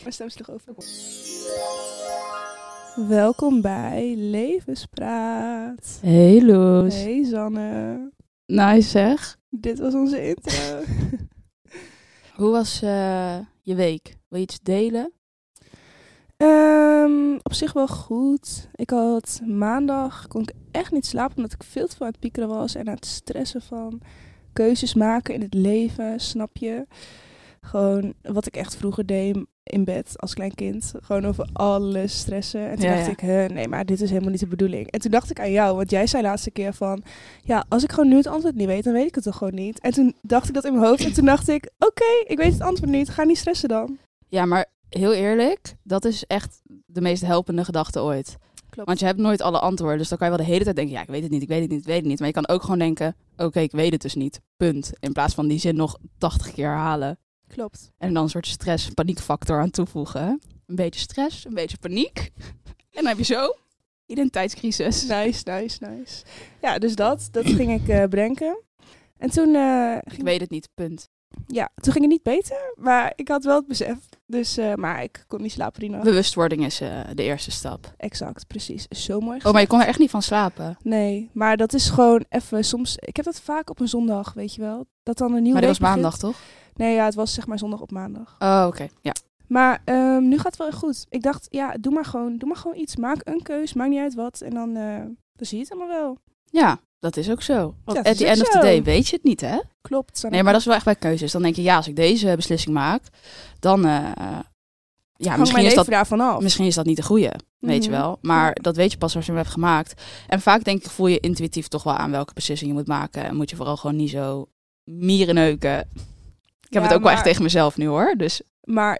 Mijn stem sloeg over. Welkom bij Levenspraat. Hey Loes. Hey Zanne. Nice zeg. Dit was onze intro. Hoe was eh, je week? Wil je iets delen? Ehm, op zich wel goed. Ik had maandag, kon ik echt niet slapen omdat ik veel te veel aan het piekeren was en aan het stressen van keuzes maken in het leven, snap je? Gewoon wat ik echt vroeger deed in bed als klein kind. Gewoon over alles stressen. En toen Ja, dacht ja. ik, huh, nee, maar dit is helemaal niet de bedoeling. En toen dacht ik aan jou, want jij zei laatste keer van, ja, als ik gewoon nu het antwoord niet weet, dan weet ik het toch gewoon niet. En toen dacht ik dat in mijn hoofd en toen dacht ik, oké, ik weet het antwoord niet, ga niet stressen dan. Ja, maar heel eerlijk, dat is echt de meest helpende gedachte ooit. Klopt. Want je hebt nooit alle antwoorden, dus dan kan je wel de hele tijd denken, ja, ik weet het niet, ik weet het niet, ik weet het niet. Maar je kan ook gewoon denken, oké, ik weet het dus niet, punt. In plaats van die zin nog 80 keer herhalen Klopt. en dan een soort stress, paniekfactor aan toevoegen. Een beetje stress, een beetje paniek. En dan heb je zo identiteitscrisis. Nice, nice, nice. Ja, dus dat, dat ging ik eh brengen. En toen, eh, Ik ging, weet het niet, punt. ja, toen ging het niet beter, maar ik had wel het besef. Dus, eh, maar ik kon niet slapen die nacht. Bewustwording is eh, de eerste stap. Exact, precies. Zo mooi Oh, gezegd. maar je kon er echt niet van slapen. Nee, maar dat is gewoon even soms... Ik heb dat vaak op een zondag, weet je wel. Dat dan een nieuwe Maar dat was week begint. maandag, toch? Nee, ja, het was zeg maar zondag op maandag. Oh, oké. Ja. Maar ehm, nu gaat het wel echt goed. Ik dacht, ja, doe maar gewoon, doe maar gewoon iets. Maak een keus, maakt niet uit wat. En dan, eh, dan zie je het allemaal wel. ja, dat is ook zo. dat Want at is the ook end of zo. the day weet je het niet, hè? Klopt. Sanne. Nee, maar dat is wel echt bij keuzes. Dan denk je, ja, als ik deze beslissing maak, dan... eh, ja, Hang misschien mijn is, leven dat, daarvan af. misschien is dat niet de goede, weet je Mhm. wel. Maar Ja. dat weet je pas als je hem hebt gemaakt. En vaak denk ik, voel je intuïtief toch wel aan welke beslissing je moet maken. En moet je vooral gewoon niet zo mierenneuken. Ik Ja, heb het ook wel echt maar- tegen mezelf nu, hoor. Dus Maar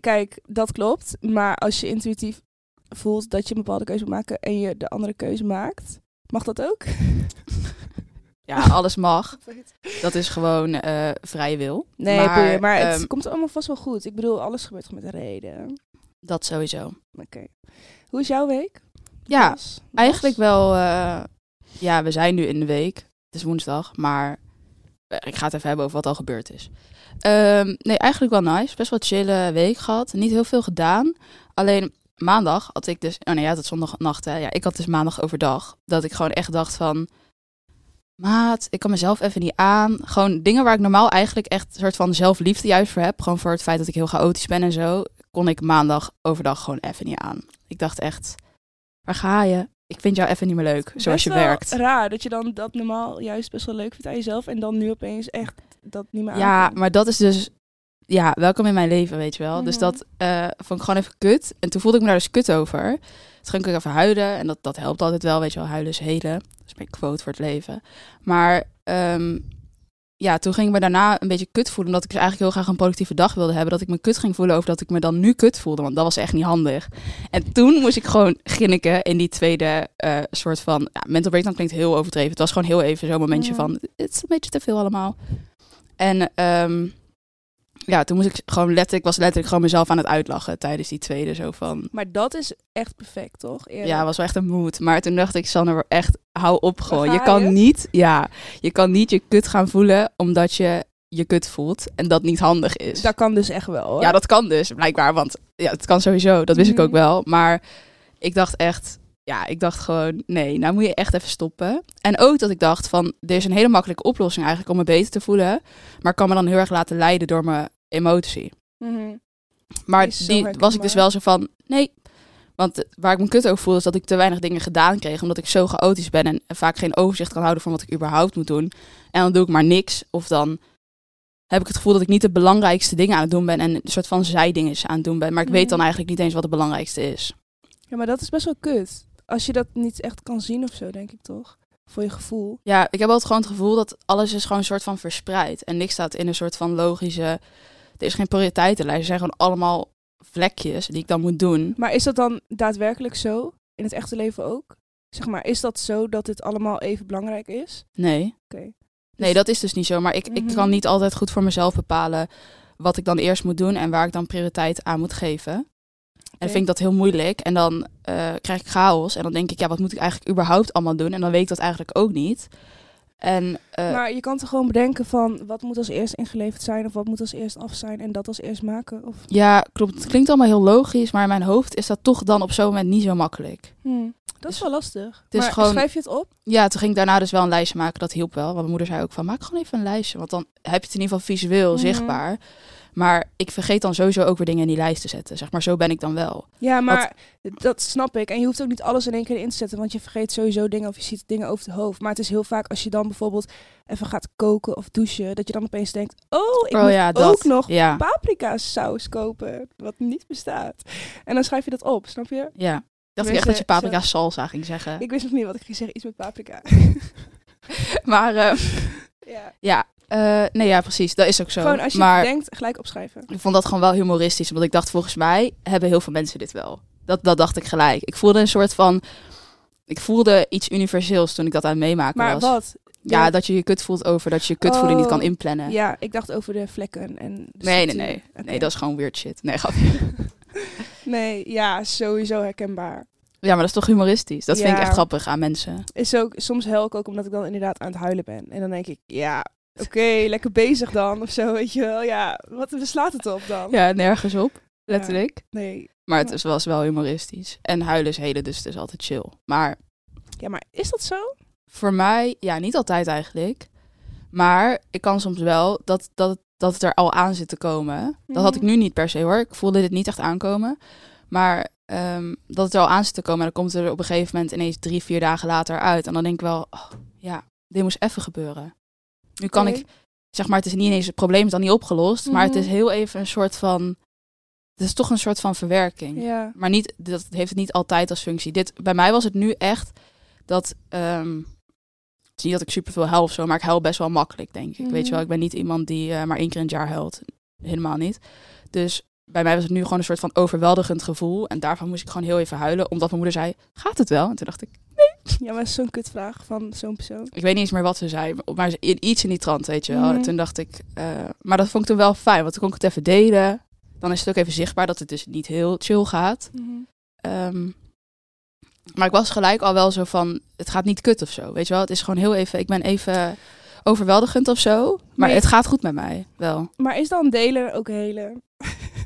kijk, dat klopt. Maar als je intuïtief voelt dat je een bepaalde keuze moet maken en je de andere keuze maakt, mag dat ook? ja, alles mag. Dat is gewoon eh vrije wil. Nee, boeien, maar, het ehm, komt allemaal vast wel goed. Ik bedoel, alles gebeurt gewoon met een reden. Oké. dat sowieso. Hoe is jouw week? Ja, Was- was? Eigenlijk wel. eh, ja, we zijn nu in de week. Het is woensdag, maar eh, ik ga het even hebben over wat al gebeurd is. Ehm, nee, eigenlijk wel nice. Best wel chille week gehad. Niet heel veel gedaan. Alleen maandag had ik dus. Oh nee, ja, dat zondagnacht. Hè. Ja, ik had dus maandag overdag. Dat ik gewoon echt dacht van. Maat, ik kan mezelf even niet aan. Gewoon dingen waar ik normaal eigenlijk echt een soort van zelfliefde juist voor heb. Gewoon voor het feit dat ik heel chaotisch ben en zo. Kon ik maandag overdag gewoon even niet aan. Ik dacht echt, waar ga je? Ik vind jou even niet meer leuk, zoals Best je wel werkt. Raar dat je dan dat normaal juist best wel leuk vindt aan jezelf en dan nu opeens echt dat niet meer Ja, aankomt. maar dat is dus... Ja, welkom in mijn leven, weet je wel. Dus Mhm. dat eh, vond ik gewoon even kut. En toen voelde ik me daar dus kut over. Toen ging ik even huilen. En dat, dat helpt altijd wel, weet je wel. Huilen is heden. Dat is mijn quote voor het leven. Maar ehm, ja, toen ging ik me daarna een beetje kut voelen. Omdat ik dus eigenlijk heel graag een productieve dag wilde hebben. Dat ik me kut ging voelen over dat ik me dan nu kut voelde. Want dat was echt niet handig. En toen moest ik gewoon grinniken in die tweede eh, soort van... Ja, mental breakdown klinkt heel overdreven. Het was gewoon heel even zo'n momentje Ja. van... Het is een beetje te veel allemaal. En ehm, ja, toen moest ik gewoon letterlijk... Ik was letterlijk gewoon mezelf aan het uitlachen tijdens die tweede. Zo van... Maar dat is echt perfect, toch? Eerlijk. Ja, was wel echt een moed. Maar toen dacht ik, Sanne, echt, hou op gewoon. ga Je kan je? niet, ja, je kan niet je kut gaan voelen omdat je je kut voelt en dat niet handig is. Dat kan dus echt wel. hoor. ja, dat kan dus, blijkbaar. Want ja, het kan sowieso, dat wist Mhm. ik ook wel. Maar ik dacht echt, ja, ik dacht gewoon, nee, nou moet je echt even stoppen. En ook dat ik dacht van, er is een hele makkelijke oplossing eigenlijk om me beter te voelen. Maar ik kan me dan heel erg laten leiden door mijn emotie. Mhm. Maar Die is zo die was ik dus herkenbaar. wel zo van, nee. Want eh, waar ik me kut over voel is dat ik te weinig dingen gedaan kreeg. Omdat ik zo chaotisch ben en vaak geen overzicht kan houden van wat ik überhaupt moet doen. En dan doe ik maar niks. Of dan heb ik het gevoel dat ik niet de belangrijkste dingen aan het doen ben. En een soort van zijdingen aan het doen ben. Maar ik weet dan Mhm. eigenlijk niet eens wat het belangrijkste is. Ja, maar dat is best wel kut. Als je dat niet echt kan zien of zo, denk ik toch? Voor je gevoel. Ja, ik heb altijd gewoon het gevoel dat alles is gewoon een soort van verspreid. En niks staat in een soort van logische... Er is geen prioriteitenlijst. Er zijn gewoon allemaal vlekjes die ik dan moet doen. Maar is dat dan daadwerkelijk zo? In het echte leven ook? Zeg maar, is dat zo dat dit allemaal even belangrijk is? Nee. Oké. Nee, dat is dus niet zo. Maar ik, Mhm. ik kan niet altijd goed voor mezelf bepalen wat ik dan eerst moet doen en waar ik dan prioriteit aan moet geven. En Oké. vind ik dat heel moeilijk. En dan eh, krijg ik chaos. En dan denk ik, ja, wat moet ik eigenlijk überhaupt allemaal doen? En dan weet ik dat eigenlijk ook niet. En eh, maar je kan toch gewoon bedenken van wat moet als eerst ingeleverd zijn of wat moet als eerst af zijn en dat als eerst maken. Of, ja, klopt. Het klinkt allemaal heel logisch, maar in mijn hoofd is dat toch dan op zo'n moment niet zo makkelijk. Hmm, Dat Dus- is wel lastig. is maar gewoon- schrijf je het op? Ja, toen ging ik daarna dus wel een lijstje maken. Dat hielp wel. Want mijn moeder zei ook van, maak gewoon even een lijstje. Want dan heb je het in ieder geval visueel Mhm. zichtbaar. Maar ik vergeet dan sowieso ook weer dingen in die lijst te zetten. Zeg maar, zo ben ik dan wel. Ja, maar dat snap ik. En je hoeft ook niet alles in één keer in te zetten, want je vergeet sowieso dingen of je ziet dingen over het hoofd. Maar het is heel vaak als je dan bijvoorbeeld even gaat koken of douchen, dat je dan opeens denkt, oh, ik moet ja, ook nog Ja, paprika saus kopen, wat niet bestaat. En dan schrijf je dat op, snap je? ja. Ik dacht Tenminste, echt dat je paprika salsa ging zeggen. Ik wist nog niet wat ik ging zeggen, iets met paprika. Maar eh, ja. ja, eh, nee, ja, precies. Dat is ook zo. Gewoon als je maar het denkt, gelijk opschrijven. ik vond dat gewoon wel humoristisch. Omdat ik dacht, volgens mij hebben heel veel mensen dit wel. Dat, dat dacht ik gelijk. Ik voelde een soort van... Ik voelde iets universeels toen ik dat aan het meemaken Maar was. wat? Ja, dat je je kut voelt over dat je je kutvoelen niet kan Oh, inplannen. Ja, ik dacht over de vlekken en de Nee, nee, structuur. nee. Oké. Nee, dat is gewoon weird shit. Nee, grapje. Nee, ja, sowieso herkenbaar. Ja, maar dat is toch humoristisch? Dat vind ik Ja. echt grappig aan mensen. Is ook, soms hel ik ook omdat ik dan inderdaad aan het huilen ben. En dan denk ik, ja, oké, lekker bezig dan of zo, weet je wel. Ja, wat waar slaat het op dan? Ja, nergens op. Letterlijk. Nee. Maar het is, was wel humoristisch. En huilen is heden, dus het is altijd chill. Maar Ja, maar is dat zo? voor mij, ja, niet altijd eigenlijk. Maar ik kan soms wel dat, dat, dat het er al aan zit te komen. Dat had ik Mhm. nu niet per se hoor. Ik voelde dit niet echt aankomen. Maar ehm, dat het er al aan zit te komen. En dan komt het er op een gegeven moment ineens drie, vier dagen later uit. En dan denk ik wel, oh, ja, dit moest even gebeuren. Nu kan Oké. ik, zeg maar, het is niet ineens, het probleem is dan niet opgelost. Maar het is Mhm. heel even een soort van, het is toch een soort van verwerking. Ja. Maar niet, dat heeft het niet altijd als functie. Dit, bij mij was het nu echt dat. ehm, het is niet dat ik super veel huil of zo, maar ik huil best wel makkelijk, denk ik. Weet je Mhm. wel, ik ben niet iemand die eh, maar één keer in het jaar huilt. Helemaal niet. Dus bij mij was het nu gewoon een soort van overweldigend gevoel. En daarvan moest ik gewoon heel even huilen, omdat mijn moeder zei: Gaat het wel? En toen dacht ik: Ja, maar dat is zo'n kutvraag van zo'n persoon. Ik weet niet eens meer wat ze zei, maar- maar ze- iets in die trant, weet je wel. Mhm. En toen dacht ik: eh, Maar dat vond ik toen wel fijn, want toen kon ik het even delen. Dan is het ook even zichtbaar dat het dus niet heel chill gaat. Ehm, maar ik was gelijk al wel zo van, het gaat niet kut of zo. Weet je wel, het is gewoon heel even, ik ben even overweldigend of zo. Maar Maar je- het gaat goed met mij, wel. Maar is dan delen ook helen?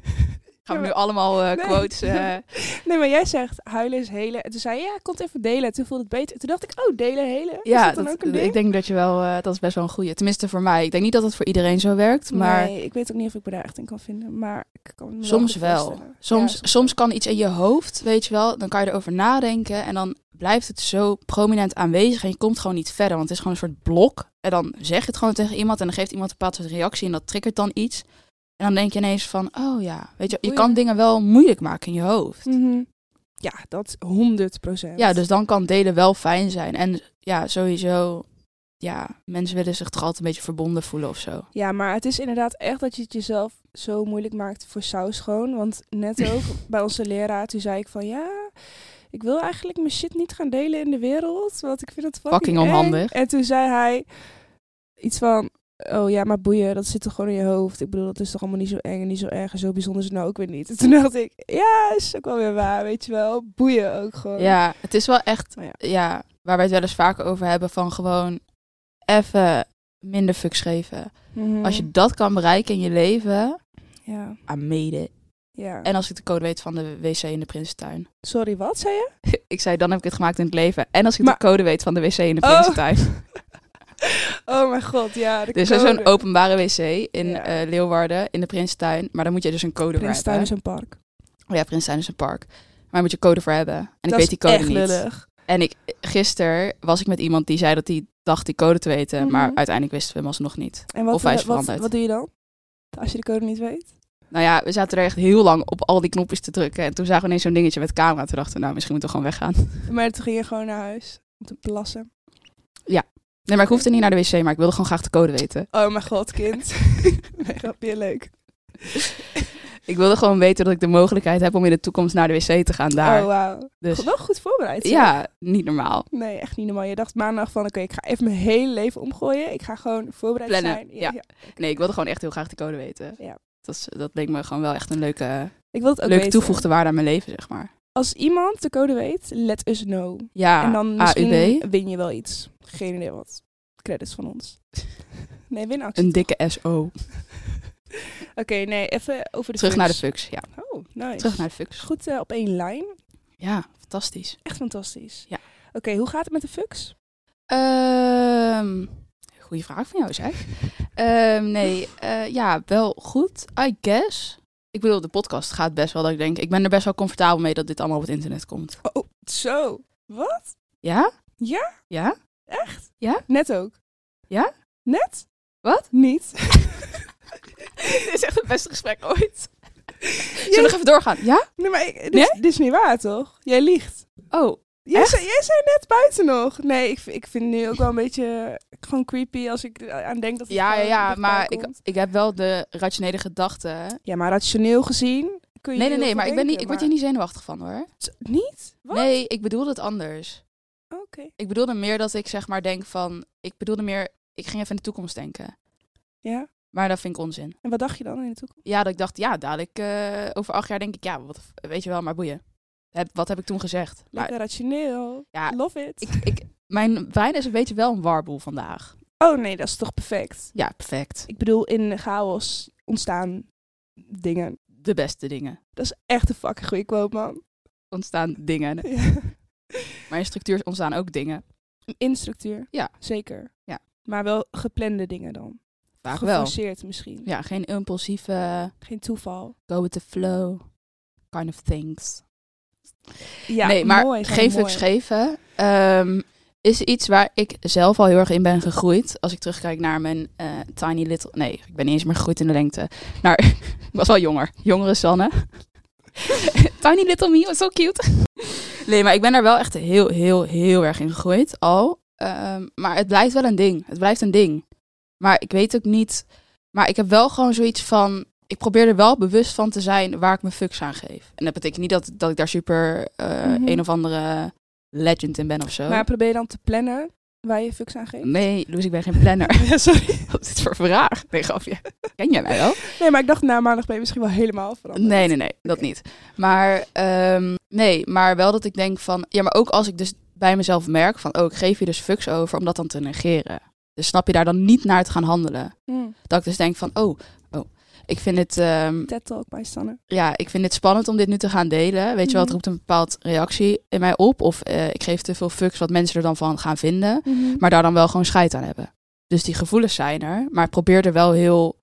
Gaan we Ja, nu allemaal eh, Nee. quotes... eh, Nee, maar jij zegt huilen is helen. En toen zei je, ja, komt even delen. Toen voelde het beter. Toen dacht ik, oh, delen, helen? is ja, dat dan dat- ook een ding? ik denk dat je wel, eh, dat is best wel een goede. Tenminste voor mij. Ik denk niet dat het voor iedereen zo werkt, maar Nee, ik weet ook niet of ik me daar echt in kan vinden. Maar ik kan me wel soms goed wel. voorstellen. Soms, Ja, soms kan iets in je hoofd, weet je wel, dan kan je erover nadenken en dan blijft het zo prominent aanwezig en je komt gewoon niet verder, want het is gewoon een soort blok. En dan zeg je het gewoon tegen iemand en dan geeft iemand een bepaald soort reactie en dat triggert dan iets. En dan denk je ineens van, oh ja, weet je, je Oei. kan dingen wel moeilijk maken in je hoofd. Mhm. Ja, dat is 100 procent. Ja, dus dan kan delen wel fijn zijn. En ja, sowieso, ja, mensen willen zich toch altijd een beetje verbonden voelen of zo. Ja, maar het is inderdaad echt dat je het jezelf zo moeilijk maakt voor saus gewoon. Want net ook bij onze leraar, toen zei ik van ja, ik wil eigenlijk mijn shit niet gaan delen in de wereld. Want ik vind het fucking, Fucking eng. onhandig. En toen zei hij iets van, oh ja, maar boeien, dat zit toch gewoon in je hoofd. Ik bedoel, dat is toch allemaal niet zo eng en niet zo erg en zo bijzonder is het nou ook weer niet. En toen dacht ik, ja, is ook wel weer waar, weet je wel. Boeien ook gewoon. Ja, het is wel echt, Maar Oh. ja. ja. waar wij het wel eens vaker over hebben van gewoon even minder fucks geven. Mhm. Als je dat kan bereiken in je leven, Ja, aan mede. ja. En als ik de code weet van de wc in de Prinsentuin. Sorry, wat zei je? ik zei, dan heb ik het gemaakt in het leven. En als ik Maar- de code weet van de wc in de Oh, Prinsentuin. Oh mijn god, ja. de er is dus code. zo'n openbare wc in Ja. eh, Leeuwarden, in de Prinsentuin. Maar daar moet je dus een code Prins voor Tuin is hebben. een park. Oh ja, Prinsentuin is een park. Maar daar moet je code voor hebben. En ik dat weet die code is echt niet. lullig. En ik, gisteren was ik met iemand die zei dat hij dacht die code te weten. Mhm. Maar uiteindelijk wisten we hem alsnog niet. En wat, Of hij is wat, veranderd. wat doe je dan? Als je de code niet weet? Nou ja, we zaten er echt heel lang op al die knopjes te drukken. En toen zagen we ineens zo'n dingetje met camera. Toen dachten we, nou, misschien moeten we gewoon weggaan. Maar toen ging je gewoon naar huis om te plassen. Nee, maar ik hoefde niet naar de wc, maar ik wilde gewoon graag de code weten. Oh mijn god, kind. nee, grapje, leuk. Ik wilde gewoon weten dat ik de mogelijkheid heb om in de toekomst naar de wc te gaan daar. Oh, wauw. dus Wel goed voorbereid. zeg. ja, niet normaal. Nee, echt niet normaal. Je dacht maandag van, oké, ik ga even mijn hele leven omgooien. Ik ga gewoon voorbereid Plannen, zijn. ja. Nee, ik wilde gewoon echt heel graag de code weten. Ja. Dat, is, dat leek me gewoon wel echt een leuke, Ik wil het ook leuke weten. toevoegde waarde aan mijn leven, zeg maar. Als iemand de code weet, let us know. Ja, en dan AUB. misschien win je wel iets. Geen idee wat. Credits van ons. nee, winactie. Een dikke SO. Oké, nee, even over de Terug naar de fucks. fux, ja. Oh, nice. Terug naar de fux. Goed eh, op één lijn. Ja, fantastisch. Echt fantastisch. Ja. Oké, hoe gaat het met de fucks? Ehm goeie vraag van jou, zeg. Ehm, nee, eh, ja, wel goed, I guess. Ik bedoel, de podcast gaat best wel dat ik denk... Ik ben er best wel comfortabel mee dat dit allemaal op het internet komt. Oh, zo. Wat? Ja? Ja? Ja? Echt? Ja? Net ook. Ja? Net? Wat? Niet. dit is echt het beste gesprek ooit. Zullen we Jij- nog even doorgaan? Ja? Nee, maar ik, dit, Nee? dit is niet waar, toch? Jij liegt. Oh, Jij Echt? zei, jij zei net buiten nog. Nee, ik, vind- ik vind nu ook wel een beetje eh, gewoon creepy als ik er eh, aan denk dat het ja, ja, gewoon ja. dichtbij Maar ik, komt. ik heb wel de rationele gedachten. Ja, maar rationeel gezien kun je Nee, nee, heel nee. veel Maar ik, ben niet, ik denken, word hier niet zenuwachtig van, hoor. maar- Niet? Wat? Nee, ik bedoel het anders. Oké. Ik bedoelde meer dat ik zeg maar denk van... Ik bedoelde meer... Ik ging even in de toekomst denken. Ja? Maar dat vind ik onzin. En wat dacht je dan in de toekomst? Ja, dat ik dacht, ja, dadelijk eh, over acht jaar denk ik... Ja, wat, weet je wel, maar boeien. Heb, wat heb ik toen gezegd? Maar, Lekker rationeel. Ja, Love it. ik, ik, mijn wijn is een beetje wel een warboel vandaag. Oh nee, dat is toch perfect. Ja, perfect. Ik bedoel, in chaos ontstaan dingen. De beste dingen. Dat is echt een fucking goede quote, man. Ontstaan dingen. Ja. Maar in structuur ontstaan ook dingen. In structuur. Ja. Zeker. Ja. Maar wel geplande dingen dan. Vaak wel. Geforceerd misschien. Ja, geen impulsieve Geen toeval. go with the flow kind of things. Ja, nee, maar mooi, gewoon geef mooi. fucks geven ehm, is iets waar ik zelf al heel erg in ben gegroeid. Als ik terugkijk naar mijn eh, tiny little... Nee, ik ben niet eens meer gegroeid in de lengte. Naar, ik was wel jonger. Jongere Sanne. tiny little me was zo cute. nee, maar ik ben daar wel echt heel, heel, heel erg in gegroeid al. Ehm, maar het blijft wel een ding. Het blijft een ding. Maar ik weet ook niet... Maar ik heb wel gewoon zoiets van... Ik probeer er wel bewust van te zijn waar ik mijn fucks aan geef. En dat betekent niet dat, dat ik daar super eh, Mhm. een of andere legend in ben of zo. Maar probeer dan te plannen waar je fucks aan geeft. Nee, Loes, ik ben geen planner. Ja, sorry. Wat is dit voor vraag? Nee, grapje. Ken jij mij wel? Nee, maar ik dacht na maandag ben je misschien wel helemaal veranderd. Nee, nee, nee, dat Oké. niet. Maar ehm, nee, maar wel dat ik denk van... Ja, maar ook als ik dus bij mezelf merk van... Oh, ik geef je dus fucks over om dat dan te negeren. Dus snap je daar dan niet naar te gaan handelen. Hm. Dat ik dus denk van... Oh, oh ik vind het... ehm, TED Talk bij Sanne. ja, ik vind dit spannend om dit nu te gaan delen. Weet je wel, Mhm. het roept een bepaald reactie in mij op. Of eh, ik geef te veel fucks wat mensen er dan van gaan vinden. maar daar dan wel gewoon scheid aan hebben. Dus die gevoelens zijn er, maar ik probeer er wel heel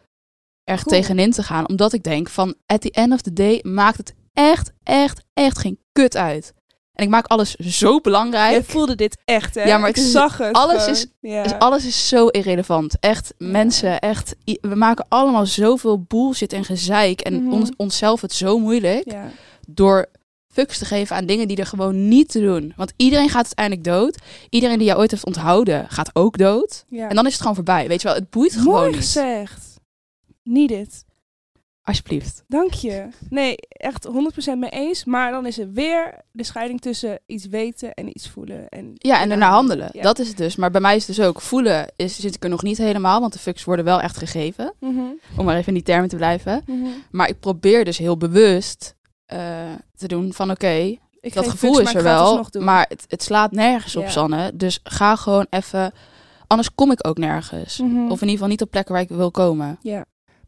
erg Cool. tegenin te gaan. Omdat ik denk van, at the end of the day maakt het echt, echt, echt geen kut uit. En ik maak alles zo belangrijk. Jij voelde dit echt, hè? Ja, maar ik het is- zag het. alles gewoon. is- Ja. Dus alles is zo irrelevant. Echt, Ja. mensen, echt. i- We maken allemaal zoveel bullshit en gezeik. En Mhm. ons- onszelf het zo moeilijk. ja. Door fucks te geven aan dingen die er gewoon niet te doen. Want iedereen gaat uiteindelijk dood. Iedereen die jou ooit heeft onthouden, gaat ook dood. ja. En dan is het gewoon voorbij. Weet je wel, het boeit gewoon Mooi niet. gezegd. Niet dit. Alsjeblieft. Dank je. Nee, echt 100% mee eens. Maar dan is er weer de scheiding tussen iets weten en iets voelen. En Ja, en daarna handelen. Ja. Dat is het dus. Maar bij mij is het dus ook voelen is, zit ik er nog niet helemaal, want de fucks worden wel echt gegeven. Mhm, Om maar even in die termen te blijven. mhm. Maar ik probeer dus heel bewust eh, te doen van oké, Ik dat geef gevoel fucks, is maar er ik ga het wel, alsnog doen. maar het, het slaat nergens op, Ja. Sanne. Dus ga gewoon even, anders kom ik ook nergens. Mhm. Of in ieder geval niet op plekken waar ik wil komen.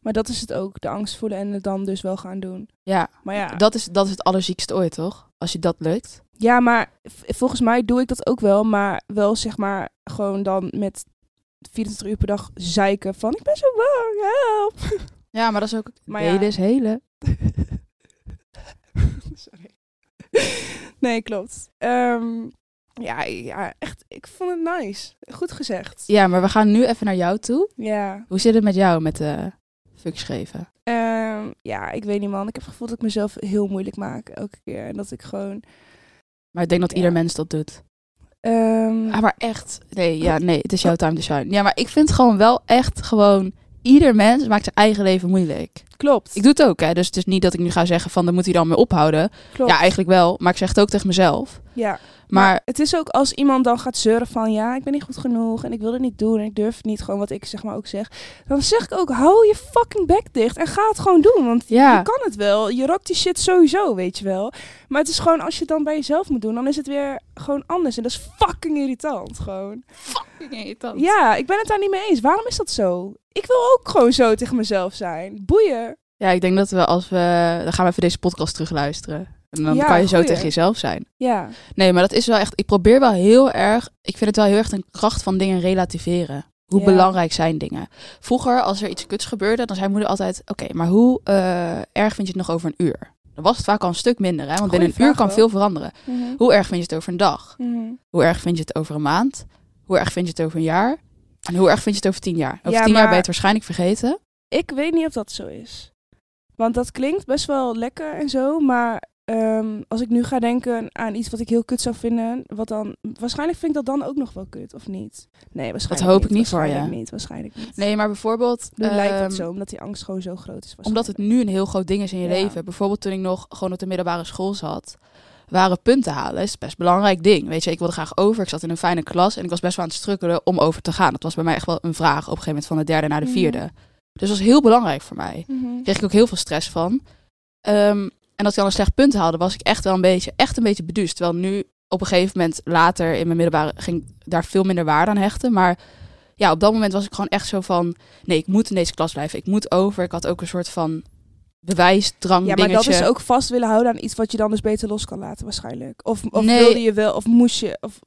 Maar dat is het ook, de angst voelen en het dan dus wel gaan doen. Ja, Maar ja, Dat, is, dat is het allerziekste ooit, toch? Als je dat lukt. ja maar v- volgens mij doe ik dat ook wel. Maar wel zeg maar gewoon dan met 24 uur per dag zeiken van ik ben zo bang, help. Ja, maar dat is ook... Maar Delen ja. is hele. Sorry. Nee, klopt. Ehm, ja, ja, echt, ik vond het nice. Goed gezegd. Ja, maar we gaan nu even naar jou toe. Ja. Hoe zit het met jou met eh fucks geven? Ehm, ja, ik weet niet man. Ik heb het gevoel dat ik mezelf heel moeilijk maak elke keer. En dat ik gewoon... Maar ik denk dat Ja. ieder mens dat doet. ehm, Oh. Ah, maar echt. Nee, ja, nee, het is jouw time to shine. Ja, maar ik vind gewoon wel echt gewoon ieder mens maakt zijn eigen leven moeilijk. Klopt. Ik doe het ook, hè. Dus het is niet dat ik nu ga zeggen van, dan moet hij dan mee ophouden. klopt. Ja, eigenlijk wel. Maar ik zeg het ook tegen mezelf. Ja. Maar het is ook als iemand dan gaat zeuren van ja, ik ben niet goed genoeg en ik wil het niet doen en ik durf het niet, gewoon wat ik zeg maar ook zeg. Dan zeg ik ook, hou je fucking bek dicht en ga het gewoon doen. Want ja, je kan het wel. Je rockt die shit sowieso, weet je wel. Maar het is gewoon, als je het dan bij jezelf moet doen, dan is het weer gewoon anders. En dat is fucking irritant gewoon. ja. Ja, ik ben het daar niet mee eens. Waarom is dat zo? Ik wil ook gewoon zo tegen mezelf zijn. Boeien. ja, ik denk dat we als we... Dan gaan we even deze podcast terugluisteren. En dan Ja, kan je zo goeie. tegen jezelf zijn. Ja, Nee, maar dat is wel echt... Ik probeer wel heel erg... Ik vind het wel heel erg een kracht van dingen relativeren. Hoe Ja. belangrijk zijn dingen? Vroeger, als er iets kuts gebeurde, dan zei moeder altijd... Oké, maar hoe eh, erg vind je het nog over een uur? Dan was het vaak al een stuk minder, hè? Want Goeie binnen een uur vraag kan wel. veel veranderen. Mhm. Hoe erg vind je het over een dag? Mhm. Hoe erg vind je het over een maand? Hoe erg vind je het over een jaar? En hoe erg vind je het over tien jaar? Ja, Over tien jaar ben maar- je het waarschijnlijk vergeten. ik weet niet of dat zo is. Want dat klinkt best wel lekker en zo, maar ehm, als ik nu ga denken aan iets wat ik heel kut zou vinden, wat dan waarschijnlijk vind ik dat dan ook nog wel kut of niet? Nee, waarschijnlijk. hoop ik niet voor je. waarschijnlijk Niet, waarschijnlijk niet. Nee, maar bijvoorbeeld... Nu lijkt ehm, het zo, omdat die angst gewoon zo groot is. Omdat het nu een heel groot ding is in je Ja. leven. Bijvoorbeeld toen ik nog gewoon op de middelbare school zat, waren punten halen is best een belangrijk ding. Weet je, ik wilde graag over. Ik zat in een fijne klas en ik was best wel aan het strukkelen om over te gaan. Dat was bij mij echt wel een vraag op een gegeven moment van de derde naar de Mhm. vierde. Dus dat was heel belangrijk voor mij. waarschijnlijk. Mhm. Daar kreeg ik ook heel veel stress van. Ehm, en als ik dan een slecht punt haalde, was ik echt wel een beetje, echt een beetje beduusd. Terwijl nu op een gegeven moment later in mijn middelbare ging ik daar veel minder waarde aan hechten. Maar ja, op dat moment was ik gewoon echt zo van, nee, ik moet in deze klas blijven. Ik moet over. Ik had ook een soort van bewijsdrang Ja, maar dingetje. dat is ook vast willen houden aan iets wat je dan dus beter los kan laten waarschijnlijk. Of, of Nee. wilde je wel, of moest je, of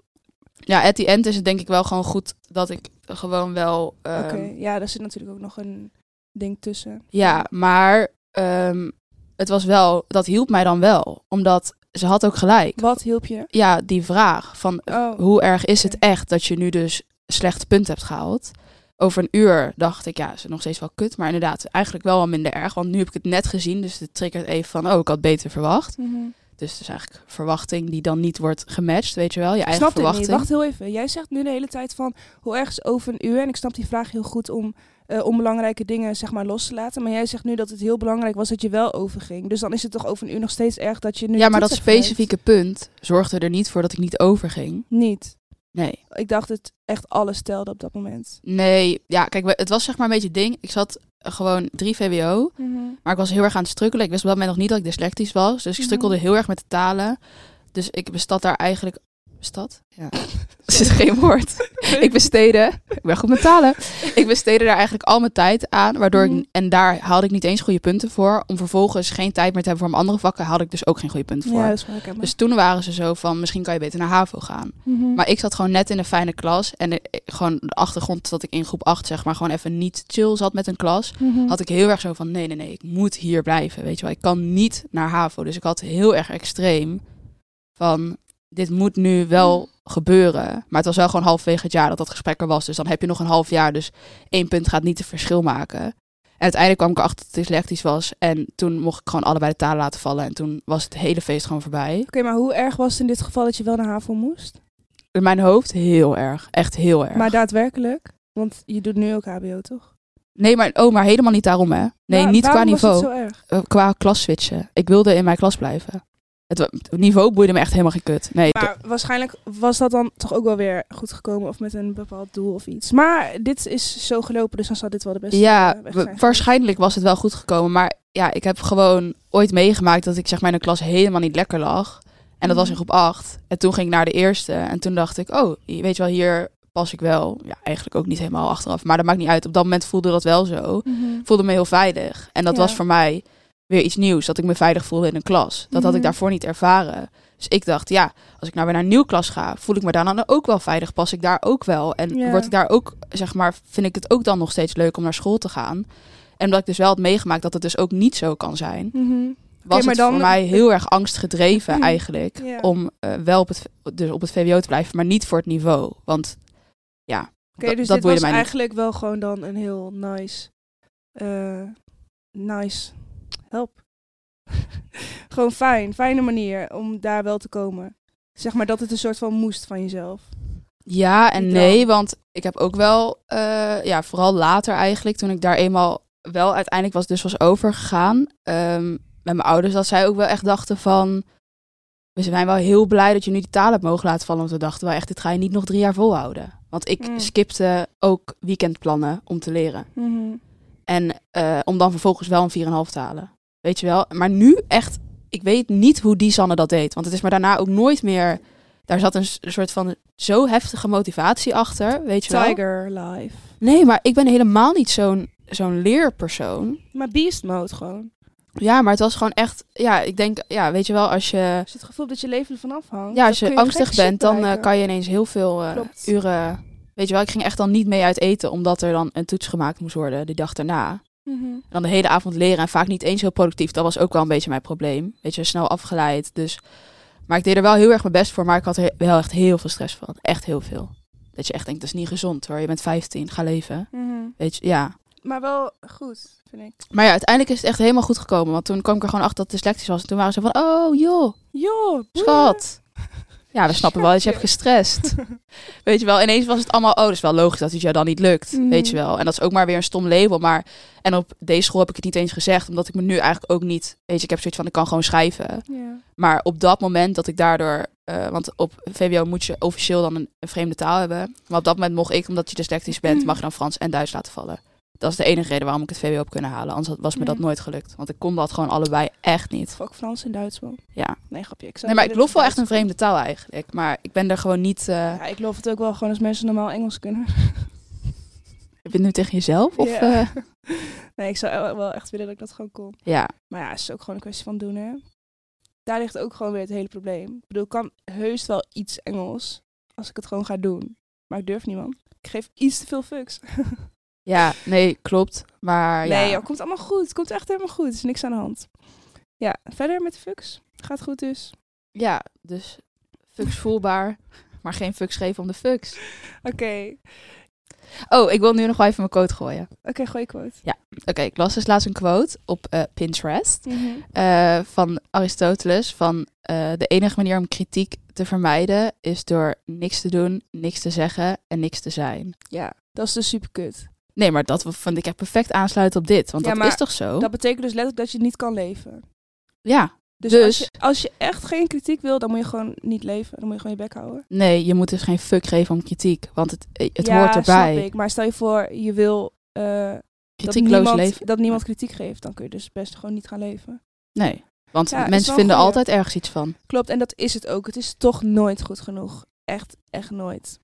Ja, at the end is het denk ik wel gewoon goed dat ik gewoon wel... ehm, oké. Ja, daar zit natuurlijk ook nog een ding tussen. Ja, maar ehm, het was wel, dat hielp mij dan wel. Omdat ze had ook gelijk. Wat hielp je? Ja, die vraag van Oh. hoe erg is het Oké. echt dat je nu dus slecht punt hebt gehaald? Over een uur dacht ik, ja, is het nog steeds wel kut. Maar inderdaad, eigenlijk wel wel minder erg. Want nu heb ik het net gezien, dus het triggert even van... oh, ik had beter verwacht. Mhm. Dus het is eigenlijk verwachting die dan niet wordt gematcht, weet je wel. Je Ik eigen snap het verwachting. niet. Wacht heel even. Jij zegt nu de hele tijd van hoe ergens over een uur. En ik snap die vraag heel goed om eh, onbelangrijke dingen zeg maar, los te laten. Maar jij zegt nu dat het heel belangrijk was dat je wel overging. Dus dan is het toch over een uur nog steeds erg dat je nu. ja, de maar dat toets hebt gemist? specifieke punt zorgde er niet voor dat ik niet overging. Niet. Nee. Ik dacht het echt alles telde op dat moment. Nee, ja, kijk, we- het was zeg maar een beetje het ding. Ik zat eh, gewoon drie VWO. Maar ik was heel erg aan het strukkelen. Ik wist op dat moment nog niet dat ik dyslectisch was. Dus ik Mhm. strukkelde heel erg met de talen. Dus ik bestad daar eigenlijk... Bestad? Ja. Er zit geen woord. ik besteedde... Ik ben goed met talen. Ik besteedde daar eigenlijk al mijn tijd aan. Waardoor Mhm. ik... En daar haalde ik niet eens goede punten voor. Om vervolgens geen tijd meer te hebben voor mijn andere vakken... haalde ik dus ook geen goede punten voor. Ja, dat is wel herkenbaar. Dus toen waren ze zo van... Misschien kan je beter naar HAVO gaan. Mhm. Maar ik zat gewoon net in een fijne klas. En eh, gewoon de achtergrond dat ik in groep 8 zeg maar... gewoon even niet chill zat met een klas Mhm. had ik heel erg zo van nee, nee, nee, ik moet hier blijven. Weet je wel, ik kan niet naar HAVO. Dus ik had heel erg extreem van dit moet nu wel Hm. gebeuren. Maar het was wel gewoon halfwege het jaar dat dat gesprek er was. Dus dan heb je nog een half jaar. Dus één punt gaat niet het verschil maken. En uiteindelijk kwam ik erachter dat ik dyslectisch was. En toen mocht ik gewoon allebei de talen laten vallen. En toen was het hele feest gewoon voorbij. Oké, maar hoe erg was het in dit geval dat je wel naar HAVO moest? In mijn hoofd heel erg. Echt heel erg. Maar daadwerkelijk? Want je doet nu ook HBO, toch? nee, maar, oh, maar helemaal niet daarom hè. Nee, Waar- niet qua waarom niveau. Was het zo erg? eh, qua klas switchen. Ik wilde in mijn klas blijven. Het wa- het niveau boeide me echt helemaal geen kut. Nee, to- Maar waarschijnlijk was dat dan toch ook wel weer goed gekomen of met een bepaald doel of iets. Maar dit is zo gelopen, dus dan zal dit wel de beste ja, eh, weg wa- zijn. waarschijnlijk was het wel goed gekomen. Maar ja, ik heb gewoon ooit meegemaakt dat ik zeg maar in een klas helemaal niet lekker lag. En dat was in Mhm. groep 8. En toen ging ik naar de eerste. En toen dacht ik, oh, je weet je wel, hier pas ik wel. Ja, eigenlijk ook niet helemaal achteraf. Maar dat maakt niet uit. Op dat moment voelde dat wel zo. Mhm. Ik voelde me heel veilig. En dat Ja. was voor mij weer iets nieuws. Dat ik me veilig voelde in een klas. Dat had ik Mhm. daarvoor niet ervaren. Dus ik dacht, ja, als ik nou weer naar een nieuw klas ga, voel ik me daarna dan ook wel veilig. Pas ik daar ook wel. En Ja. word ik daar ook, zeg maar, vind ik het ook dan nog steeds leuk om naar school te gaan. En omdat ik dus wel had meegemaakt dat het dus ook niet zo kan zijn, Mhm. was maar het dan- Mhm. voor mij heel erg angstgedreven eigenlijk. Ja. Om eh, wel op het, dus op het VWO te blijven, maar niet voor het niveau. Want ja, Oké, dat- dus dat dit boeide was mij niet. eigenlijk wel gewoon dan een heel nice, eh, nice help. gewoon fijn, fijne manier om daar wel te komen. Zeg maar dat het een soort van moest van jezelf. Ja en Niet nee, want ik heb ook wel, eh, ja, vooral later eigenlijk, toen ik daar eenmaal wel uiteindelijk was, dus was overgegaan ehm, met mijn ouders, dat zij ook wel echt dachten van, we zijn wel heel blij dat je nu die taal hebt mogen laten vallen, want we dachten wel echt, dit ga je niet nog drie jaar volhouden. Want ik Mm. skipte ook weekendplannen om te leren. En eh, om dan vervolgens wel een 4,5 te halen. Weet je wel? Maar nu echt, ik weet niet hoe die Sanne dat deed. Want het is maar daarna ook nooit meer. Daar zat een s- soort van zo heftige motivatie achter. Weet je wel? Tiger life. Nee, maar ik ben helemaal niet zo'n zo'n leerpersoon. Maar beast mode gewoon. Ja, maar het was gewoon echt. Ja, ik denk, ja, weet je wel, als je, Als je het gevoel hebt dat je leven ervan afhangt. ja, dan als je kun angstig gekke shit bent, dan eh, bereiken. kan je ineens heel veel eh, Klopt. uren. Weet je wel, ik ging echt dan niet mee uit eten, omdat er dan een toets gemaakt moest worden die dag daarna. Mhm. En dan de hele avond leren en vaak niet eens heel productief. Dat was ook wel een beetje mijn probleem. Weet je, snel afgeleid. Dus. Maar ik deed er wel heel erg mijn best voor. Maar ik had he- wel echt heel veel stress van. Echt heel veel. Dat je echt denkt, dat is niet gezond hoor. Je bent 15, ga leven. Mhm. Weet je, ja. Maar wel goed, vind ik. Maar ja, uiteindelijk is het echt helemaal goed gekomen. Want toen kwam ik er gewoon achter dat het dyslectisch was. En toen waren ze van, oh joh, Joh, boeien. schat. Ja, we snappen wel dat je hebt gestrest. Weet je wel, ineens was het allemaal, oh, dat is wel logisch dat het jou dan niet lukt. Mhm. Weet je wel. En dat is ook maar weer een stom label. Maar, en op deze school heb ik het niet eens gezegd, omdat ik me nu eigenlijk ook niet, weet je, ik heb zoiets van, ik kan gewoon schrijven. Ja. Maar op dat moment dat ik daardoor, eh, want op VWO moet je officieel dan een, een vreemde taal hebben. Maar op dat moment mocht ik, omdat je dyslectisch bent, mag je dan Frans en Duits laten vallen. Dat is de enige reden waarom ik het VWO heb kunnen halen. Anders had- was me dat Ja. nooit gelukt. Want ik kon dat gewoon allebei echt niet. Fuck Frans en Duits, man. Ja. Nee, grapje. Ik zou Nee, maar ik niet lof wel echt weten een dat het vreemde taal eigenlijk. Maar ik ben er gewoon niet... eh, Duits- Ja, ik lof het ook wel gewoon als mensen normaal Engels kunnen. Heb je het nu tegen jezelf? Of, Ja. eh, Nee, ik zou wel echt willen dat ik dat gewoon kon. ja. Maar ja, het is ook gewoon een kwestie van doen, hè. Daar ligt ook gewoon weer het hele probleem. Ik bedoel, ik kan heus wel iets Engels als ik het gewoon ga doen. Maar ik durf niemand. Ik geef iets te veel fucks. ja, nee, klopt. Maar ja. Nee, joh, komt allemaal goed. Komt echt helemaal goed. Er is niks aan de hand. Ja, verder met de fucks. Gaat goed dus. ja, dus fucks voelbaar, maar geen fucks geven om de fucks. Oké. Oh, ik wil nu nog wel even mijn quote gooien. Oké, gooi quote. Oké, ik las dus laatst een quote op eh, Pinterest Mhm. eh, van Aristoteles van eh, de enige manier om kritiek te vermijden is door niks te doen, niks te zeggen en niks te zijn. Ja, dat is dus super kut. Nee, maar dat vind ik echt perfect aansluiten op dit, want Ja, dat maar is toch zo? Dat betekent dus letterlijk dat je niet kan leven. Ja. Dus, Als, Dus- je, als je echt geen kritiek wil, dan moet je gewoon niet leven. Dan moet je gewoon je bek houden. Nee, je moet dus geen fuck geven om kritiek, want het, eh, het ja, hoort erbij. Snap ik. Maar stel je voor, je wil eh, dat, Kritiekloos niemand, leven. dat niemand kritiek geeft. Dan kun je dus best gewoon niet gaan leven. Nee, want Ja, is wel mensen een vinden goeie. altijd ergens iets van. Klopt, en dat is het ook. Het is toch nooit goed genoeg. Echt, echt nooit.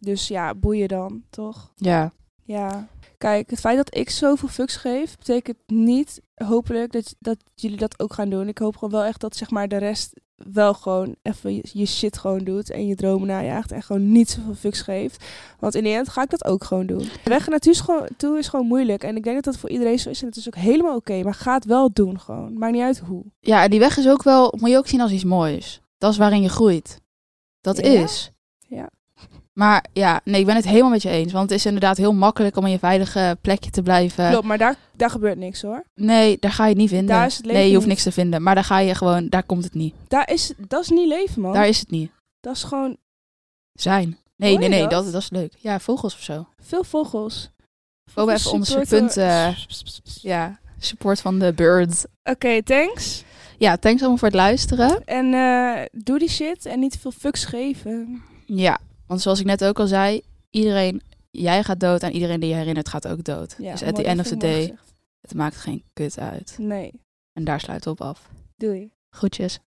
Dus ja, boeien dan, toch? Ja. Ja. Kijk, het feit dat ik zoveel fucks geef, betekent niet hopelijk dat, dat jullie dat ook gaan doen. Ik hoop gewoon wel echt dat zeg maar de rest wel gewoon even je, je shit gewoon doet en je dromen najaagt en gewoon niet zoveel fucks geeft. Want in de end ga ik dat ook gewoon doen. De weg naartoe is gewoon, toe is gewoon moeilijk en ik denk dat dat voor iedereen zo is en het is ook helemaal oké. maar ga het wel doen gewoon. Maakt niet uit hoe. ja, en die weg is ook wel, moet je ook zien als iets moois. Dat is waarin je groeit. Dat Ja. is. Ja. Maar ja, nee, ik ben het helemaal met je eens. Want het is inderdaad heel makkelijk om in je veilige plekje te blijven. Klopt, maar daar, daar gebeurt niks hoor. Nee, daar ga je het niet vinden. Daar is het leven nee, je hoeft niet. niks te vinden. Maar daar ga je gewoon, daar komt het niet. Daar is, dat is niet leven man. Daar is het niet. Dat is gewoon Zijn. Nee, Hoor je nee, nee, dat? dat? Dat, is leuk. Ja, vogels of zo. veel vogels. Vogels Komen even Oh, onze supporten- punten. Ja, support van de birds. Oké, thanks. Ja, thanks allemaal voor het luisteren. En eh, doe die shit en niet veel fucks geven. Ja, want zoals ik net ook al zei, iedereen, jij gaat dood en iedereen die je herinnert gaat ook dood. dus at mooi, the end of dat vind ik the mooi day, gezegd. het maakt geen kut uit. Nee, En daar sluiten we op af. doei. Groetjes.